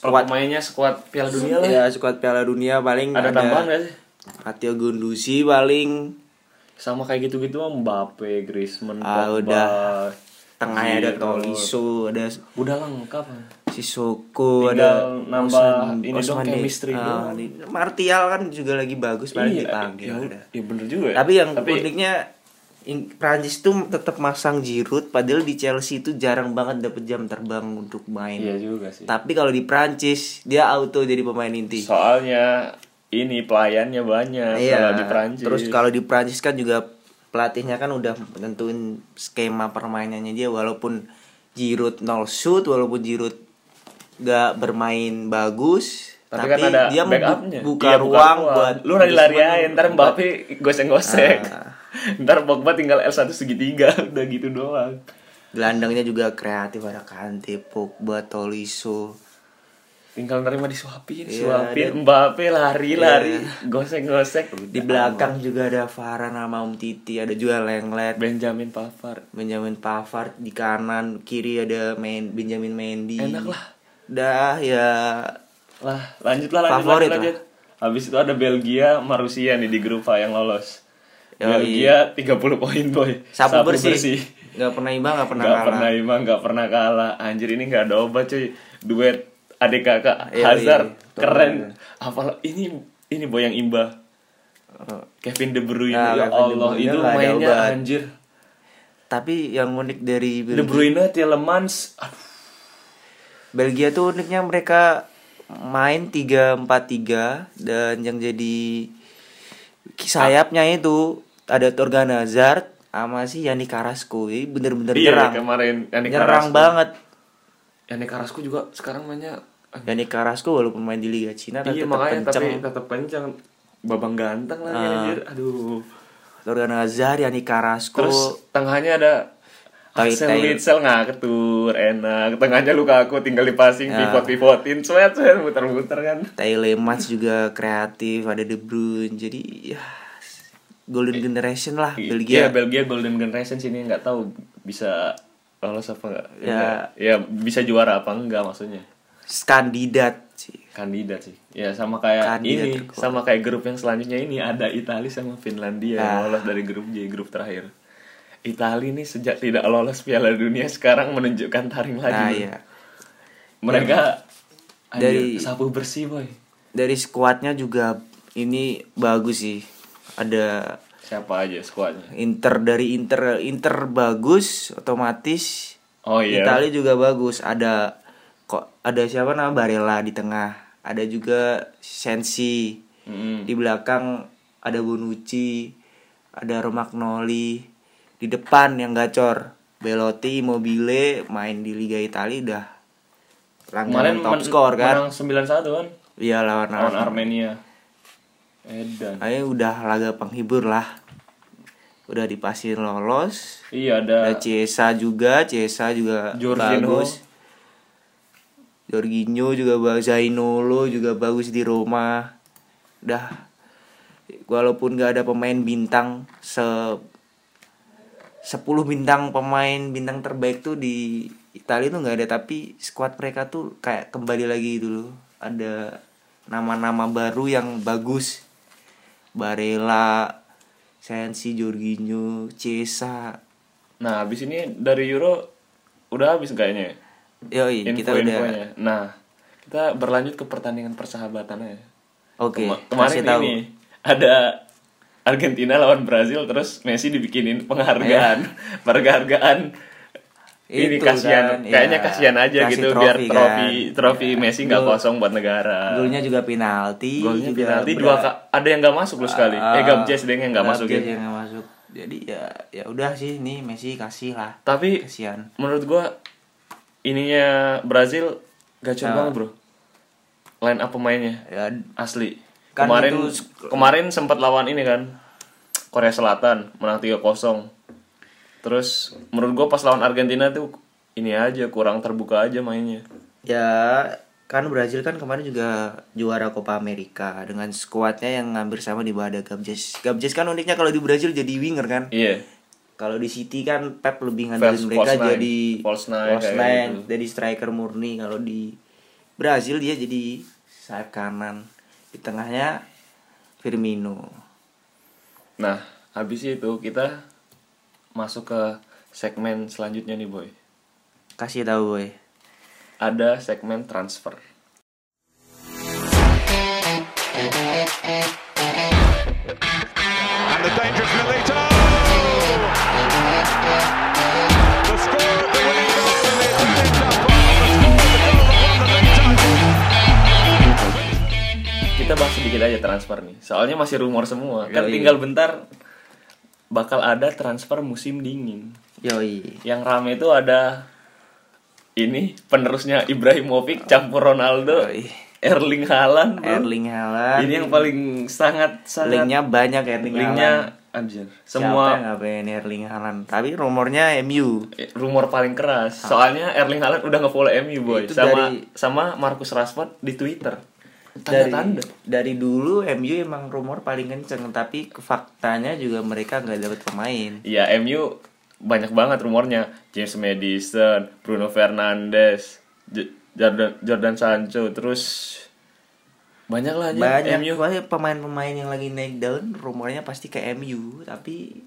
[SPEAKER 2] Skuad
[SPEAKER 4] skuad
[SPEAKER 2] mainnya skuad Piala Dunia lah.
[SPEAKER 4] ya skuad Piala Dunia paling
[SPEAKER 2] Ada tambahan gak sih?
[SPEAKER 4] Matteo Gunduzi paling
[SPEAKER 2] Sama kayak gitu-gitu mah Mbappe, Griezmann,
[SPEAKER 4] Ah,
[SPEAKER 2] Pogba.
[SPEAKER 4] udah. tengahnya ada
[SPEAKER 2] Giroud.
[SPEAKER 4] Tolisso, ada
[SPEAKER 2] Udah lengkap.
[SPEAKER 4] Sissoko,
[SPEAKER 2] Tinggal
[SPEAKER 4] ada
[SPEAKER 2] nambah
[SPEAKER 4] Osman-
[SPEAKER 2] ini dong,
[SPEAKER 4] Osman De-
[SPEAKER 2] chemistry
[SPEAKER 4] ah,
[SPEAKER 2] doang.
[SPEAKER 4] di- Martial kan juga lagi bagus paling
[SPEAKER 2] ya,
[SPEAKER 4] dipanggil. udah.
[SPEAKER 2] ya bener juga ya.
[SPEAKER 4] Tapi yang uniknya Ing- Prancis tuh tetap masang Giroud padahal di Chelsea itu jarang banget dapet jam terbang untuk main.
[SPEAKER 2] Iya juga sih.
[SPEAKER 4] Tapi kalau di Prancis dia auto jadi pemain inti. Iya.
[SPEAKER 2] Soalnya ini pelayannya banyak kalau di Prancis.
[SPEAKER 4] Terus kalau di Prancis kan juga pelatihnya kan udah tentuin skema permainannya dia walaupun Giroud nol shoot, walaupun Giroud gak bermain bagus,
[SPEAKER 2] tapi, kan ada
[SPEAKER 4] dia
[SPEAKER 2] backupnya.
[SPEAKER 4] membu- buka
[SPEAKER 2] Iya,
[SPEAKER 4] ruang buat
[SPEAKER 2] Lu lari-larian,
[SPEAKER 4] Griezmann, Ah.
[SPEAKER 2] ntar Mbappe goseng-goseng. ntar Pogba tinggal L1 segitiga, udah gitu doang.
[SPEAKER 4] Gelandangnya juga kreatif ada Kante, Pogba, Tolisso.
[SPEAKER 2] Tinggal nerima disuapin,
[SPEAKER 4] Iya,
[SPEAKER 2] suapin, Mbappe lari-lari, gosek-gosek.
[SPEAKER 4] Di belakang juga ada Farhan sama Om Titi, ada juga Lenglet,
[SPEAKER 2] Benjamin Pavard.
[SPEAKER 4] Benjamin Pavard di kanan, kiri ada main Benjamin Mendy.
[SPEAKER 2] Enak lah.
[SPEAKER 4] Dah ya
[SPEAKER 2] Lah, lanjutlah lanjut
[SPEAKER 4] Favorit
[SPEAKER 2] lanjut, lanjut. Habis itu ada Belgia, sama Rusia nih di grup A yang lolos.
[SPEAKER 4] Yoi.
[SPEAKER 2] Belgia 30 poin boy.
[SPEAKER 4] sapu, bersih. Nggak pernah imbang, nggak pernah
[SPEAKER 2] Nggak
[SPEAKER 4] kalah.
[SPEAKER 2] pernah imbang, nggak pernah kalah. Anjir ini nggak ada obat cuy. Duet adik kakak
[SPEAKER 4] Yoi.
[SPEAKER 2] Hazard
[SPEAKER 4] Tuh,
[SPEAKER 2] keren. Apalagi ini ini boy yang imbah. Kevin De Bruyne
[SPEAKER 4] Nah,
[SPEAKER 2] ya
[SPEAKER 4] Kevin De
[SPEAKER 2] Allah
[SPEAKER 4] Bruyne
[SPEAKER 2] itu
[SPEAKER 4] nggak ada
[SPEAKER 2] mainnya
[SPEAKER 4] obat.
[SPEAKER 2] anjir.
[SPEAKER 4] Tapi yang unik dari
[SPEAKER 2] De
[SPEAKER 4] Belgia,
[SPEAKER 2] Bruyne, Tielemans, aduh,
[SPEAKER 4] Belgia tuh uniknya mereka main 3-4-3 dan yang jadi sayapnya itu ada Torgan Hazard sama si Yannick Carrasco. Jadi bener-bener
[SPEAKER 2] Iya,
[SPEAKER 4] nyerang.
[SPEAKER 2] kemarin Yannick
[SPEAKER 4] nyerang
[SPEAKER 2] Carrasco.
[SPEAKER 4] banget.
[SPEAKER 2] Yannick Carrasco juga sekarang mainnya
[SPEAKER 4] Yannick Carrasco walaupun main di Liga Cina kan
[SPEAKER 2] iya
[SPEAKER 4] tetap
[SPEAKER 2] makanya
[SPEAKER 4] kenceng.
[SPEAKER 2] tapi tetap kencang babang ganteng lah
[SPEAKER 4] Ah.
[SPEAKER 2] anjir aduh
[SPEAKER 4] Torgan Hazard, Yannick Carrasco.
[SPEAKER 2] terus tengahnya ada
[SPEAKER 4] Tai-
[SPEAKER 2] Axel
[SPEAKER 4] tai.
[SPEAKER 2] Witsel ngaketur enak tengahnya luka aku tinggal dipassing
[SPEAKER 4] Ya.
[SPEAKER 2] pivot pivotin swet swet muter muter kan
[SPEAKER 4] Taylor Mats juga kreatif, ada De Bruyne. Jadi ya golden generation lah
[SPEAKER 2] Iya,
[SPEAKER 4] Belgia.
[SPEAKER 2] Belgia Golden Generation sini nggak tahu bisa lolos apa nggak
[SPEAKER 4] Ya.
[SPEAKER 2] ya bisa juara apa enggak maksudnya
[SPEAKER 4] Kandidat sih.
[SPEAKER 2] kandidat sih ya sama kayak
[SPEAKER 4] Kandidat
[SPEAKER 2] ini
[SPEAKER 4] terkuat.
[SPEAKER 2] sama kayak grup yang selanjutnya ini ada Italia sama Finlandia yang
[SPEAKER 4] Ah.
[SPEAKER 2] lolos dari grup J grup terakhir Italia ini sejak tidak lolos Piala Dunia sekarang menunjukkan taring lagi
[SPEAKER 4] Nah,
[SPEAKER 2] Bro.
[SPEAKER 4] iya.
[SPEAKER 2] mereka
[SPEAKER 4] Dari-
[SPEAKER 2] dari sapu bersih boy
[SPEAKER 4] Dari skuadnya juga ini bagus sih. Ada
[SPEAKER 2] siapa aja skuadnya
[SPEAKER 4] Inter dari Inter Inter bagus otomatis.
[SPEAKER 2] oh iya
[SPEAKER 4] Italia juga bagus. Ada kok ada siapa nama Barella di tengah. Ada juga Sensi.
[SPEAKER 2] Mm-mm.
[SPEAKER 4] Di belakang ada Bonucci, ada Romagnoli. Di depan yang gacor Belotti, Mobile main di Liga Italia udah langganan
[SPEAKER 2] kemarin
[SPEAKER 4] top
[SPEAKER 2] men-
[SPEAKER 4] skor kan.
[SPEAKER 2] menang 9-1 kan
[SPEAKER 4] Iya lawan
[SPEAKER 2] lawan Armenia
[SPEAKER 4] Armenia.
[SPEAKER 2] Edan
[SPEAKER 4] Ayo udah laga penghibur lah. Udah dipastiin lolos.
[SPEAKER 2] iya
[SPEAKER 4] Ada
[SPEAKER 2] ada
[SPEAKER 4] Ciesa juga, Ciesa juga
[SPEAKER 2] Jorginho.
[SPEAKER 4] bagus. Jorginho juga bagus, Zainolo juga bagus di Roma. Dah, walaupun gak ada pemain bintang se 10 bintang pemain bintang terbaik tuh di Italia tuh nggak ada tapi skuad mereka tuh kayak kembali lagi dulu ada nama-nama baru yang bagus Barella, Sensi, Jorginho, Cesa,
[SPEAKER 2] nah habis ini dari Euro udah habis kayaknya
[SPEAKER 4] Yoi, kita udah
[SPEAKER 2] info-infonya. Nah, kita berlanjut ke pertandingan persahabatannya.
[SPEAKER 4] Oke,
[SPEAKER 2] Kema-
[SPEAKER 4] kasih
[SPEAKER 2] kemarin
[SPEAKER 4] tahu.
[SPEAKER 2] ini ada Argentina lawan Brazil terus Messi dibikinin penghargaan, penghargaan. Ini
[SPEAKER 4] Iya. Itu
[SPEAKER 2] kasihan,
[SPEAKER 4] kan,
[SPEAKER 2] kayaknya
[SPEAKER 4] iya.
[SPEAKER 2] kasihan aja
[SPEAKER 4] Kasih
[SPEAKER 2] gitu
[SPEAKER 4] trofi
[SPEAKER 2] biar
[SPEAKER 4] kan.
[SPEAKER 2] trofi trofi Messi nggak
[SPEAKER 4] Gol-
[SPEAKER 2] kosong buat negara.
[SPEAKER 4] golnya juga penalti,
[SPEAKER 2] Golnya
[SPEAKER 4] juga
[SPEAKER 2] penalti
[SPEAKER 4] berat.
[SPEAKER 2] dua ka- ada yang nggak masuk lu sekali. eh
[SPEAKER 4] Ah,
[SPEAKER 2] Gabjes deh yang nggak
[SPEAKER 4] Gabjes
[SPEAKER 2] masukin.
[SPEAKER 4] yang nggak masuk. Jadi ya ya udah sih nih Messi kasih lah.
[SPEAKER 2] Tapi
[SPEAKER 4] Kasihan.
[SPEAKER 2] menurut gua ininya Brazil gacor
[SPEAKER 4] Nah.
[SPEAKER 2] banget, Bro. Line up pemainnya.
[SPEAKER 4] Ya,
[SPEAKER 2] asli
[SPEAKER 4] Kan
[SPEAKER 2] kemarin
[SPEAKER 4] itu-
[SPEAKER 2] kemarin sempat lawan ini kan Korea Selatan menang 3-0 terus menurut gue pas lawan Argentina tuh ini aja kurang terbuka aja mainnya
[SPEAKER 4] ya kan Brazil kan kemarin juga juara Copa America dengan skuadnya yang hampir sama di bawah ada Gabjes. Gabjes kan uniknya kalau di Brazil jadi winger kan.
[SPEAKER 2] iya
[SPEAKER 4] Kalau di City kan Pep lebih ngandelin
[SPEAKER 2] False-
[SPEAKER 4] mereka
[SPEAKER 2] false nine.
[SPEAKER 4] jadi
[SPEAKER 2] False nine
[SPEAKER 4] false
[SPEAKER 2] kayak
[SPEAKER 4] nine,
[SPEAKER 2] gitu.
[SPEAKER 4] jadi striker murni. Kalau di Brazil dia jadi sayap kanan. Di tengahnya Firmino.
[SPEAKER 2] nah habis itu kita masuk ke segmen selanjutnya nih boy
[SPEAKER 4] Kasih tahu boy.
[SPEAKER 2] ada segmen transfer
[SPEAKER 3] And the dangerous Milito! The score of the winning goal from the Atlanta Falcons. The goal that won the big title.
[SPEAKER 2] kita bahas sedikit aja transfer nih soalnya masih rumor semua kan
[SPEAKER 4] Yoi.
[SPEAKER 2] tinggal bentar bakal ada transfer musim dingin
[SPEAKER 4] Yoi.
[SPEAKER 2] yang rame itu ada ini penerusnya Ibrahimovic campur Ronaldo
[SPEAKER 4] Yoi.
[SPEAKER 2] Erling Haaland bro.
[SPEAKER 4] Erling Haaland.
[SPEAKER 2] ini yang paling sangat sangat
[SPEAKER 4] linknya banyak ya, Erling
[SPEAKER 2] linknya
[SPEAKER 4] Haaland.
[SPEAKER 2] Anjir.
[SPEAKER 4] Siapa yang
[SPEAKER 2] Semua
[SPEAKER 4] nggak pengen Erling Haaland? Tapi rumornya MU.
[SPEAKER 2] eh, rumor paling keras. Soalnya Erling Haaland udah nge-follow MU, boy.
[SPEAKER 4] Ah. Itu
[SPEAKER 2] sama
[SPEAKER 4] dari-
[SPEAKER 2] sama Marcus Rashford di Twitter. Tanda-tanda.
[SPEAKER 4] dari dulu MU emang rumor paling kenceng tapi faktanya juga mereka nggak dapet pemain.
[SPEAKER 2] Iya, MU banyak banget rumornya. James Madison, Bruno Fernandes, J- Jordan Jordan Sancho, terus banyak lah anjing,
[SPEAKER 4] Banyak
[SPEAKER 2] MU.
[SPEAKER 4] banyak pemain-pemain yang lagi naik daun rumornya pasti ke MU tapi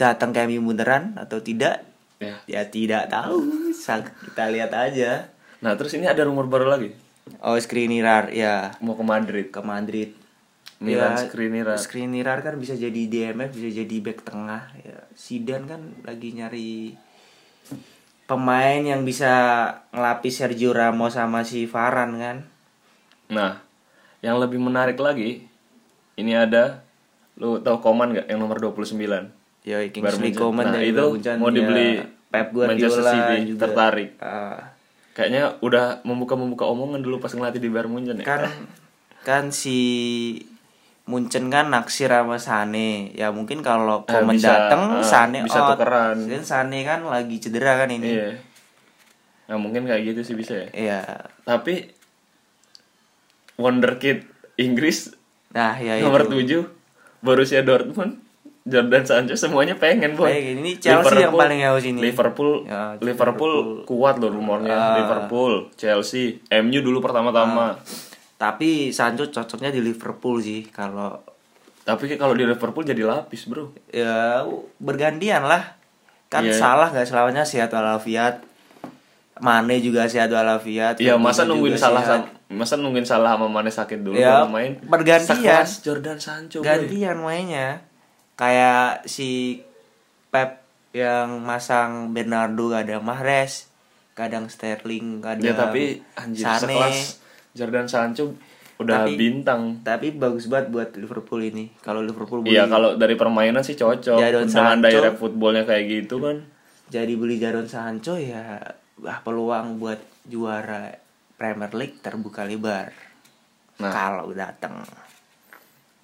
[SPEAKER 4] datang ke MU beneran atau tidak?
[SPEAKER 2] Ya.
[SPEAKER 4] Ya tidak tahu. Sang- Kita lihat aja.
[SPEAKER 2] Nah, terus ini ada rumor baru lagi.
[SPEAKER 4] Oh, Skriniar ya
[SPEAKER 2] Mau ke Madrid.
[SPEAKER 4] ke Madrid. Ya,
[SPEAKER 2] Milan Skriniar.
[SPEAKER 4] Skriniar kan bisa jadi DMF, bisa jadi back tengah. Ya, Sidan kan lagi nyari pemain yang bisa ngelapis Sergio Ramos sama si Varan kan.
[SPEAKER 2] Nah, yang lebih menarik lagi, ini ada lu tahu Koman nggak yang nomor 29?
[SPEAKER 4] Ya,
[SPEAKER 2] Bayern
[SPEAKER 4] Kingsley
[SPEAKER 2] Munchen.
[SPEAKER 4] Coman
[SPEAKER 2] Nah,
[SPEAKER 4] dari
[SPEAKER 2] itu
[SPEAKER 4] Bayern Munchen,
[SPEAKER 2] mau
[SPEAKER 4] ya,
[SPEAKER 2] dibeli
[SPEAKER 4] Pep Guardiola
[SPEAKER 2] Manchester City,
[SPEAKER 4] juga.
[SPEAKER 2] tertarik.
[SPEAKER 4] Ah,
[SPEAKER 2] Kayaknya udah membuka-membuka omongan dulu pas ngelatih di Bayern Munchen ya.
[SPEAKER 4] kan kan si Munchen kan naksir sama Sane. Ya mungkin kalau
[SPEAKER 2] Eh,
[SPEAKER 4] Coman
[SPEAKER 2] bisa, eh,
[SPEAKER 4] datang Sane
[SPEAKER 2] bisa
[SPEAKER 4] out.
[SPEAKER 2] tukeran.
[SPEAKER 4] Dan Sane kan lagi cedera kan ini.
[SPEAKER 2] Iya. Nah, mungkin kayak gitu sih bisa ya.
[SPEAKER 4] Iya.
[SPEAKER 2] Tapi wonderkid Inggris
[SPEAKER 4] Nah, ya
[SPEAKER 2] nomor
[SPEAKER 4] itu.
[SPEAKER 2] 7 Borussia Dortmund Jordan Sancho semuanya pengen boy.
[SPEAKER 4] Pengen. Eh, Ini Chelsea yang paling haus ini.
[SPEAKER 2] Liverpool,
[SPEAKER 4] Ya, Ah.
[SPEAKER 2] Liverpool, kuat loh rumornya. Liverpool, Chelsea, MU dulu pertama-tama.
[SPEAKER 4] Tapi Sancho cocoknya di Liverpool sih kalau
[SPEAKER 2] Tapi kalau di Liverpool jadi lapis bro.
[SPEAKER 4] ya bergantian lah. Kan
[SPEAKER 2] Iya.
[SPEAKER 4] salah nggak selawannya sehat walafiat. Mane juga sehat walafiat.
[SPEAKER 2] Iya masa
[SPEAKER 4] Firmino
[SPEAKER 2] nungguin
[SPEAKER 4] juga
[SPEAKER 2] salah
[SPEAKER 4] sehat.
[SPEAKER 2] sama masa nungguin salah sama Mane sakit dulu
[SPEAKER 4] Ya,
[SPEAKER 2] baru main.
[SPEAKER 4] bergantian.
[SPEAKER 2] Sekelas Jordan Sancho. boy.
[SPEAKER 4] gantian mainnya. Kayak si Pep yang masang Bernardo ada Mahrez, kadang Sterling,
[SPEAKER 2] Ya
[SPEAKER 4] kadang
[SPEAKER 2] tapi anjir
[SPEAKER 4] Sane.
[SPEAKER 2] sekelas Jordan Sancho udah
[SPEAKER 4] Tapi-
[SPEAKER 2] bintang.
[SPEAKER 4] Tapi bagus banget buat Liverpool ini. Kalau Liverpool beli
[SPEAKER 2] Iya kalau dari permainan sih cocok.
[SPEAKER 4] Jadon
[SPEAKER 2] Dengan
[SPEAKER 4] Ya, Sancho.
[SPEAKER 2] direct footballnya kayak gitu kan.
[SPEAKER 4] jadi beli Jadon Sancho ya wah peluang buat juara Premier League terbuka lebar
[SPEAKER 2] Nah.
[SPEAKER 4] kalau datang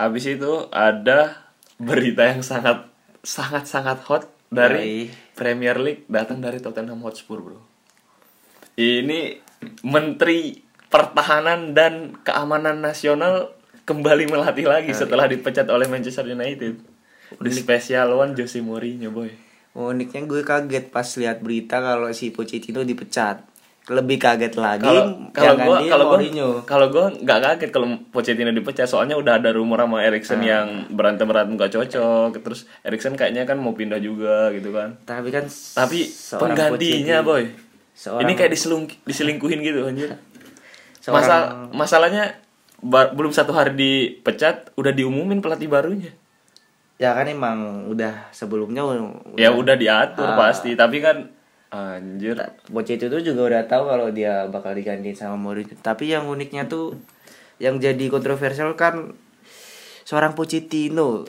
[SPEAKER 2] Habis itu ada berita yang sangat sangat sangat hot dari
[SPEAKER 4] Yoi.
[SPEAKER 2] Premier League datang dari Tottenham Hotspur, Bro. Ini Menteri Pertahanan dan Keamanan Nasional kembali melatih lagi setelah dipecat oleh Manchester United. Di Special One Jose Mourinho, boy.
[SPEAKER 4] uniknya gue kaget pas lihat berita kalau si Pochettino dipecat lebih kaget lagi
[SPEAKER 2] Kalau kalau
[SPEAKER 4] yang
[SPEAKER 2] gua
[SPEAKER 4] gantiin
[SPEAKER 2] kalau gua
[SPEAKER 4] Mourinho
[SPEAKER 2] kalau gua nggak kaget kalau Pochettino dipecat soalnya udah ada rumor sama
[SPEAKER 4] Ah.
[SPEAKER 2] Erikson yang berantem berantem gak cocok terus Erikson kayaknya kan mau pindah juga gitu kan
[SPEAKER 4] tapi kan
[SPEAKER 2] tapi
[SPEAKER 4] seorang
[SPEAKER 2] penggantinya
[SPEAKER 4] Pochettino-
[SPEAKER 2] boy
[SPEAKER 4] seorang-
[SPEAKER 2] ini kayak diselung- diselingkuhin gitu anjir
[SPEAKER 4] Seorang-
[SPEAKER 2] Masal- masalahnya ba- belum satu hari dipecat udah diumumin pelatih barunya
[SPEAKER 4] ya kan emang udah sebelumnya
[SPEAKER 2] ya udah diatur
[SPEAKER 4] Ah.
[SPEAKER 2] pasti tapi kan anjir
[SPEAKER 4] Pochettino tuh juga udah tahu kalau dia bakal digantiin sama Mourinho. Tapi yang uniknya tuh yang jadi kontroversial kan seorang Pochettino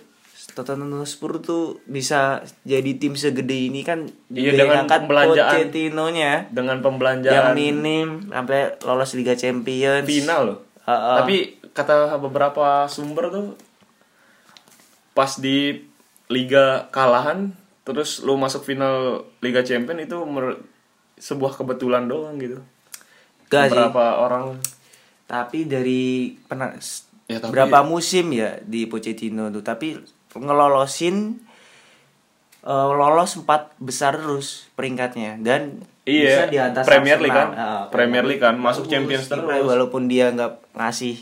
[SPEAKER 4] Tottenham Hotspur tuh bisa jadi tim segede ini kan
[SPEAKER 2] Iya,
[SPEAKER 4] juga
[SPEAKER 2] dengan
[SPEAKER 4] yang angkat
[SPEAKER 2] pembelanjaan.
[SPEAKER 4] Pochettino-nya
[SPEAKER 2] dengan
[SPEAKER 4] yang
[SPEAKER 2] pembelanjaan
[SPEAKER 4] minim sampai lolos Liga Champions.
[SPEAKER 2] final loh.
[SPEAKER 4] Heeh.
[SPEAKER 2] Tapi kata beberapa sumber tuh pas di liga kalahan terus lu masuk final Liga Champion itu mer- sebuah kebetulan doang gitu.
[SPEAKER 4] Gak sih.
[SPEAKER 2] beberapa orang
[SPEAKER 4] Tapi dari pernah s-
[SPEAKER 2] Ya, tapi-
[SPEAKER 4] berapa musim ya di Pochettino tuh, tapi ngelolosin eh, lolos empat besar terus peringkatnya dan
[SPEAKER 2] Iya,
[SPEAKER 4] bisa di atas
[SPEAKER 2] Premier
[SPEAKER 4] Arsenal.
[SPEAKER 2] League kan?
[SPEAKER 4] Ah,
[SPEAKER 2] Premier League kan, masuk Champions
[SPEAKER 4] kiprahnya
[SPEAKER 2] terus.
[SPEAKER 4] walaupun dia nggak ngasih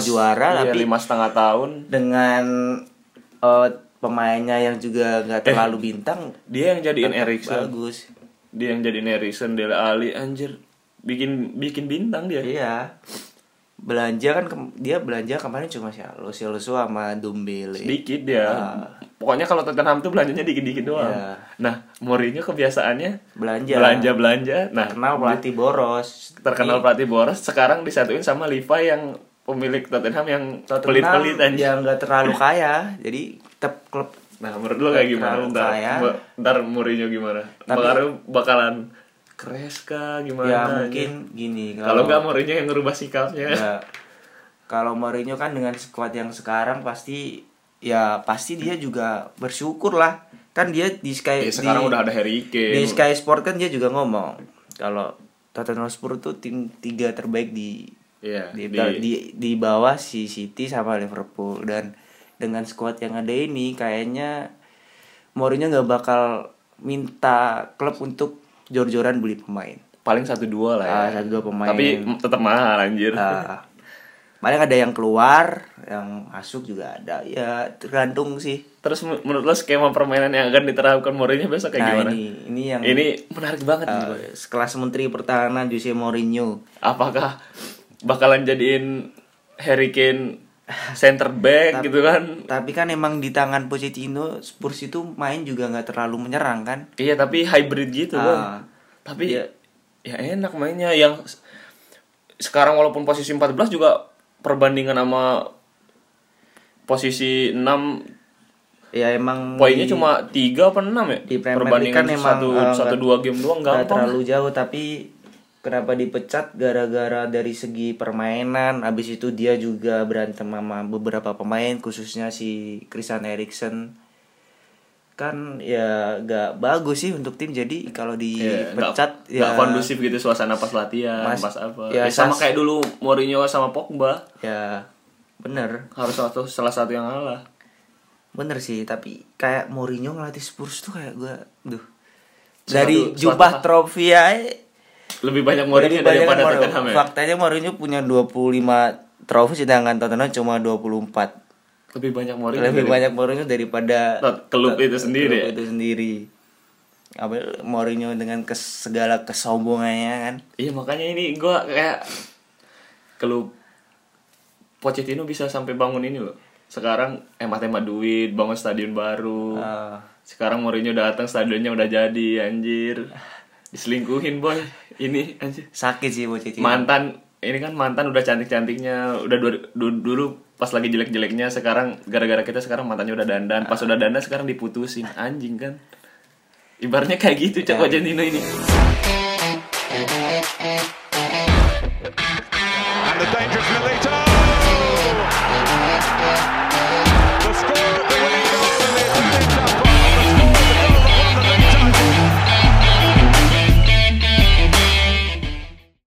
[SPEAKER 2] lima-
[SPEAKER 4] juara
[SPEAKER 2] iya,
[SPEAKER 4] tapi
[SPEAKER 2] lima setengah tahun
[SPEAKER 4] dengan eh, pemainnya yang juga nggak
[SPEAKER 2] Eh.
[SPEAKER 4] terlalu bintang
[SPEAKER 2] dia yang jadiin Erikson
[SPEAKER 4] bagus
[SPEAKER 2] dia yang jadiin Erikson Dele Ali anjir bikin bikin bintang dia
[SPEAKER 4] iya belanja kan ke- dia belanja kemarin cuma sih Lucio Lucio sama Dombele
[SPEAKER 2] dikit dia. Pokoknya kalau Tottenham tuh belanjanya dikit-dikit doang.
[SPEAKER 4] Ah. Iya.
[SPEAKER 2] Nah, Mourinho kebiasaannya
[SPEAKER 4] Belanja.
[SPEAKER 2] belanja-belanja. Nah,
[SPEAKER 4] terkenal pelatih Iya. boros
[SPEAKER 2] terkenal pelatih boros sekarang disatuin sama Levi yang pemilik Tottenham yang pelit-pelit
[SPEAKER 4] Terkenal
[SPEAKER 2] aja.
[SPEAKER 4] yang ya, nggak terlalu kaya jadi tetap klub
[SPEAKER 2] Nah, menurut lo kayak gimana?
[SPEAKER 4] Terkenal
[SPEAKER 2] Ntar,
[SPEAKER 4] kaya.
[SPEAKER 2] Ba- ntar Mourinho gimana? Pengaruh bakalan crash kah gimana?
[SPEAKER 4] ya
[SPEAKER 2] aja?
[SPEAKER 4] mungkin Iya. gini
[SPEAKER 2] iya. kalau nggak Mourinho yang ngerubah sikapnya.
[SPEAKER 4] ya, kalau Mourinho kan dengan skuad yang sekarang pasti ya pasti dia juga bersyukur lah kan dia di
[SPEAKER 5] Ya,
[SPEAKER 4] Sky
[SPEAKER 5] sekarang
[SPEAKER 4] di-
[SPEAKER 5] udah ada Harry Kane.
[SPEAKER 4] di Sky Sport kan dia juga ngomong kalau Tottenham Hotspur tuh tim tiga terbaik di
[SPEAKER 5] Iya,
[SPEAKER 4] di,
[SPEAKER 5] di-
[SPEAKER 4] di di bawah si City sama Liverpool dan dengan skuad yang ada ini kayaknya Mourinho nggak bakal minta klub untuk jor-joran beli pemain.
[SPEAKER 2] paling satu
[SPEAKER 5] Iya.
[SPEAKER 2] dua lah ya.
[SPEAKER 4] Ah, satu dua pemain.
[SPEAKER 2] Tapi m- tetap mahal anjir.
[SPEAKER 4] Nah, paling ada yang keluar, yang masuk juga ada. Ya tergantung sih.
[SPEAKER 2] Terus men- menurut lo skema permainan yang akan diterapkan Mourinho besok kayak
[SPEAKER 4] nah
[SPEAKER 2] gimana?
[SPEAKER 4] ini ini yang
[SPEAKER 2] Ini menarik banget nih, Boy.
[SPEAKER 4] eh, sekelas Menteri Pertahanan Jose Mourinho.
[SPEAKER 2] Apakah bakalan jadiin Harry Kane center back gitu kan?
[SPEAKER 4] Tapi kan emang di tangan Pochettino Spurs itu main juga nggak terlalu menyerang kan?
[SPEAKER 2] Iya tapi hybrid gitu Bang.
[SPEAKER 4] Ah.
[SPEAKER 2] Tapi
[SPEAKER 4] Iya.
[SPEAKER 2] ya enak mainnya yang s- sekarang walaupun posisi 14 juga perbandingan sama posisi 6
[SPEAKER 4] Ya emang
[SPEAKER 2] poinnya
[SPEAKER 4] di-
[SPEAKER 2] cuma 3 apa 6 ya?
[SPEAKER 4] di Premier League
[SPEAKER 2] perbandingan
[SPEAKER 4] kan emang
[SPEAKER 2] satu,
[SPEAKER 4] eh,
[SPEAKER 2] satu
[SPEAKER 4] nggak-
[SPEAKER 2] dua game doang
[SPEAKER 4] nggak
[SPEAKER 2] gampang.
[SPEAKER 4] terlalu jauh tapi kenapa dipecat gara-gara dari segi permainan habis itu dia juga berantem sama beberapa pemain khususnya si Christian Eriksen kan ya gak bagus sih untuk tim jadi kalau
[SPEAKER 2] Iya,
[SPEAKER 4] dipecat
[SPEAKER 2] nggak-
[SPEAKER 4] ya-
[SPEAKER 2] nggak kondusif gitu suasana pas latihan,
[SPEAKER 4] Mas-
[SPEAKER 2] pas apa.
[SPEAKER 4] ya,
[SPEAKER 2] Ya, sama
[SPEAKER 4] sas-
[SPEAKER 2] kayak dulu Mourinho sama Pogba
[SPEAKER 4] ya bener
[SPEAKER 2] harus satu salah satu yang kalah.
[SPEAKER 4] bener sih tapi kayak Mourinho ngelatih Spurs tuh kayak gue duh
[SPEAKER 2] Suatu- suatu
[SPEAKER 4] dari jubah
[SPEAKER 2] hal.
[SPEAKER 4] trofi aja
[SPEAKER 2] Lebih banyak
[SPEAKER 4] Mourinho
[SPEAKER 2] Mourinho daripada
[SPEAKER 4] Mourinho.
[SPEAKER 2] Tottenham ya.
[SPEAKER 4] Faktanya Mourinho punya 25 trofi sedangkan Tottenham cuma 24.
[SPEAKER 2] Lebih banyak Mourinho.
[SPEAKER 4] Lebih
[SPEAKER 2] dari-
[SPEAKER 4] banyak Mourinho daripada
[SPEAKER 2] Tot- klub itu sendiri
[SPEAKER 4] klub
[SPEAKER 2] ya?
[SPEAKER 4] itu sendiri. Apa Mourinho dengan kes- segala kesombongannya kan.
[SPEAKER 2] Iya makanya ini gua kayak kalau Pochettino bisa sampai bangun ini loh. Sekarang hemat-hemat duit, bangun stadion baru.
[SPEAKER 4] Ah.
[SPEAKER 2] Sekarang Mourinho datang stadionnya udah jadi anjir. Diselingkuhin boy. Ini anjir.
[SPEAKER 4] Sakit sih Pochettino.
[SPEAKER 2] Mantan ini kan mantan udah cantik-cantiknya, udah du- du- dulu pas lagi jelek-jeleknya sekarang gara-gara kita sekarang mantannya udah dandan, pas udah dandan sekarang diputusin. Anjing kan. Ibaratnya kayak gitu Cak Pochettino ini.
[SPEAKER 3] And the dangerous Milito.